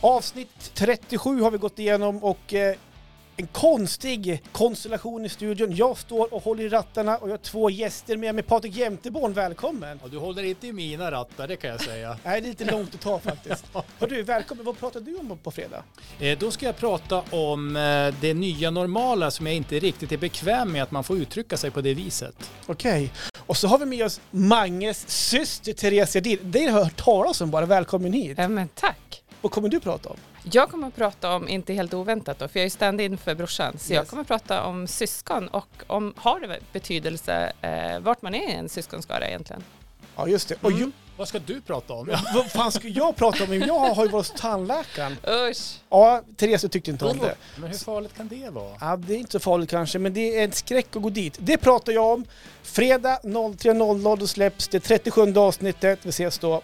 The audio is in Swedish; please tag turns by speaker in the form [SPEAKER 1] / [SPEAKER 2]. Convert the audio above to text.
[SPEAKER 1] Avsnitt 37 har vi gått igenom och eh, en konstig konstellation i studion. Jag står och håller i rattarna och jag har två gäster med mig. Patrik Jämteborn, välkommen!
[SPEAKER 2] Ja, du håller inte i mina rattar, det kan jag säga.
[SPEAKER 1] Nej, det är lite långt att ta faktiskt. Hördu, välkommen. Vad pratar du om på fredag?
[SPEAKER 2] Eh, Då ska jag prata om eh, det nya normala som jag inte riktigt är bekväm med att man får uttrycka sig på det viset.
[SPEAKER 1] Okej. Och så har vi med oss Manges syster Therese Edin. Det har jag hört talas om bara. Välkommen hit.
[SPEAKER 3] Ja, men tack.
[SPEAKER 1] Vad kommer du prata om?
[SPEAKER 3] Jag kommer att prata om, inte helt oväntat då, för jag är stand-in för brorsan, så jag
[SPEAKER 1] Yes.
[SPEAKER 3] kommer att prata om syskon och om, har det betydelse eh, vart man är i en syskonskara egentligen?
[SPEAKER 1] Ja, just det. Och ju,
[SPEAKER 2] Vad ska du prata om? Ja.
[SPEAKER 1] vad fan ska jag prata om? Jag har ju varit hos tandläkaren.
[SPEAKER 3] Usch!
[SPEAKER 1] Ja, Therese tyckte inte om det.
[SPEAKER 2] Men hur farligt kan det vara?
[SPEAKER 1] Ja, det är inte så farligt kanske, men det är en skräck att gå dit. Det pratar jag om. Fredag 03.00 då släpps det 37 avsnittet. Vi ses då.